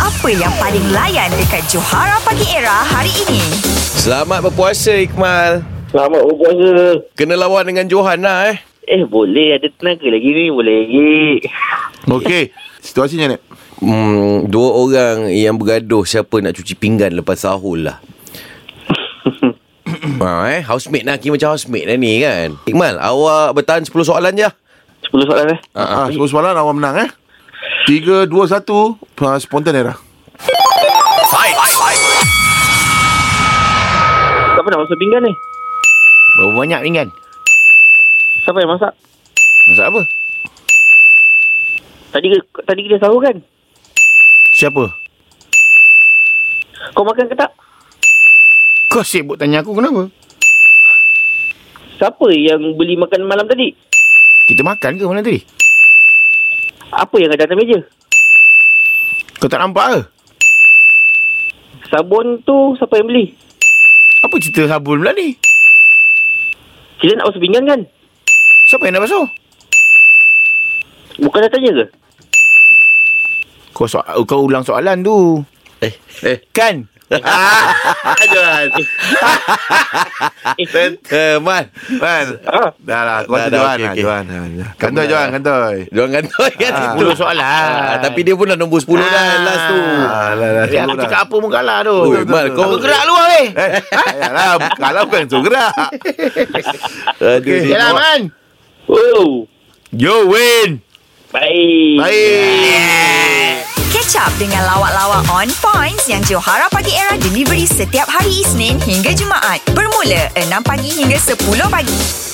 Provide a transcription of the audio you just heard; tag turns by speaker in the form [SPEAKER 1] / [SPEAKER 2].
[SPEAKER 1] apa yang paling layan dekat Johara Pagi Era hari ini?
[SPEAKER 2] Selamat berpuasa Ikmal.
[SPEAKER 3] Selamat berpuasa.
[SPEAKER 2] Kena lawan dengan Johan lah eh.
[SPEAKER 3] Eh boleh ada tenaga lagi ni Boleh lagi
[SPEAKER 4] Okey. Situasinya Nek.
[SPEAKER 2] Hmm, dua orang yang bergaduh siapa nak cuci pinggan lepas sahur lah. ha, eh? Housemate nak kira macam housemate dah ni kan. Ikmal, awak bertahan 10 soalan je.
[SPEAKER 3] 10 soalan eh
[SPEAKER 4] Ah, ah, semua semalam awak menang eh. 3 2 1 uh, spontan era.
[SPEAKER 3] Siapa nak masuk pinggan ni
[SPEAKER 2] Berapa banyak pinggan?
[SPEAKER 3] Siapa yang masak
[SPEAKER 2] Masak apa?
[SPEAKER 3] Tadi ke- tadi kita sahur kan
[SPEAKER 5] Siapa?
[SPEAKER 3] Kau makan ke tak
[SPEAKER 5] Kau sibuk tanya aku kenapa?
[SPEAKER 3] Siapa yang beli makan malam tadi
[SPEAKER 5] Kita makan ke malam tadi?
[SPEAKER 3] Apa yang ada atas meja
[SPEAKER 5] Kau tak nampak ke?
[SPEAKER 3] Sabun tu Siapa yang beli
[SPEAKER 5] Apa cerita sabun pula ni?
[SPEAKER 3] Kita nak masuk pinggan kan
[SPEAKER 5] Siapa yang nak basuh?
[SPEAKER 3] Bukan dah tanya ke
[SPEAKER 5] Kau, so- kau ulang soalan tu.
[SPEAKER 2] Eh, eh.
[SPEAKER 5] Kan?
[SPEAKER 4] Johan.
[SPEAKER 3] Eh
[SPEAKER 2] Eh, Man.
[SPEAKER 4] Man.
[SPEAKER 3] ah,
[SPEAKER 4] Kan? Dah lah, kau
[SPEAKER 2] Dah, dah,
[SPEAKER 4] kata Johan
[SPEAKER 2] okey,
[SPEAKER 4] lah,
[SPEAKER 2] okey.
[SPEAKER 4] Johan. Ah, dah. Kantoi Johan, kantoi.
[SPEAKER 2] Diorang kantoi kan
[SPEAKER 4] Ah.
[SPEAKER 2] itu.
[SPEAKER 5] 10 soalan.
[SPEAKER 2] Ah, tapi dia pun dah nombor 10 dah
[SPEAKER 5] Ah.
[SPEAKER 2] last tu.
[SPEAKER 4] Ah, lah, lah,
[SPEAKER 5] Eh, aku
[SPEAKER 4] dah.
[SPEAKER 5] cakap apa pun kalah tu.
[SPEAKER 2] Oi,
[SPEAKER 4] betul,
[SPEAKER 2] Mal,
[SPEAKER 4] betul.
[SPEAKER 2] kau
[SPEAKER 5] Aku gerak luar weh.
[SPEAKER 4] Eh, ayalah, kalau bukan tu gerak.
[SPEAKER 2] Aduh,
[SPEAKER 4] Okey.
[SPEAKER 2] dia-
[SPEAKER 5] Yalah man.
[SPEAKER 3] Oh
[SPEAKER 5] You win.
[SPEAKER 3] Baik
[SPEAKER 5] Baik.
[SPEAKER 1] Catch up dengan lawak-lawak on points yang Johara Pagi Era delivery setiap hari Isnin hingga Jumaat bermula 6 pagi hingga 10 pagi.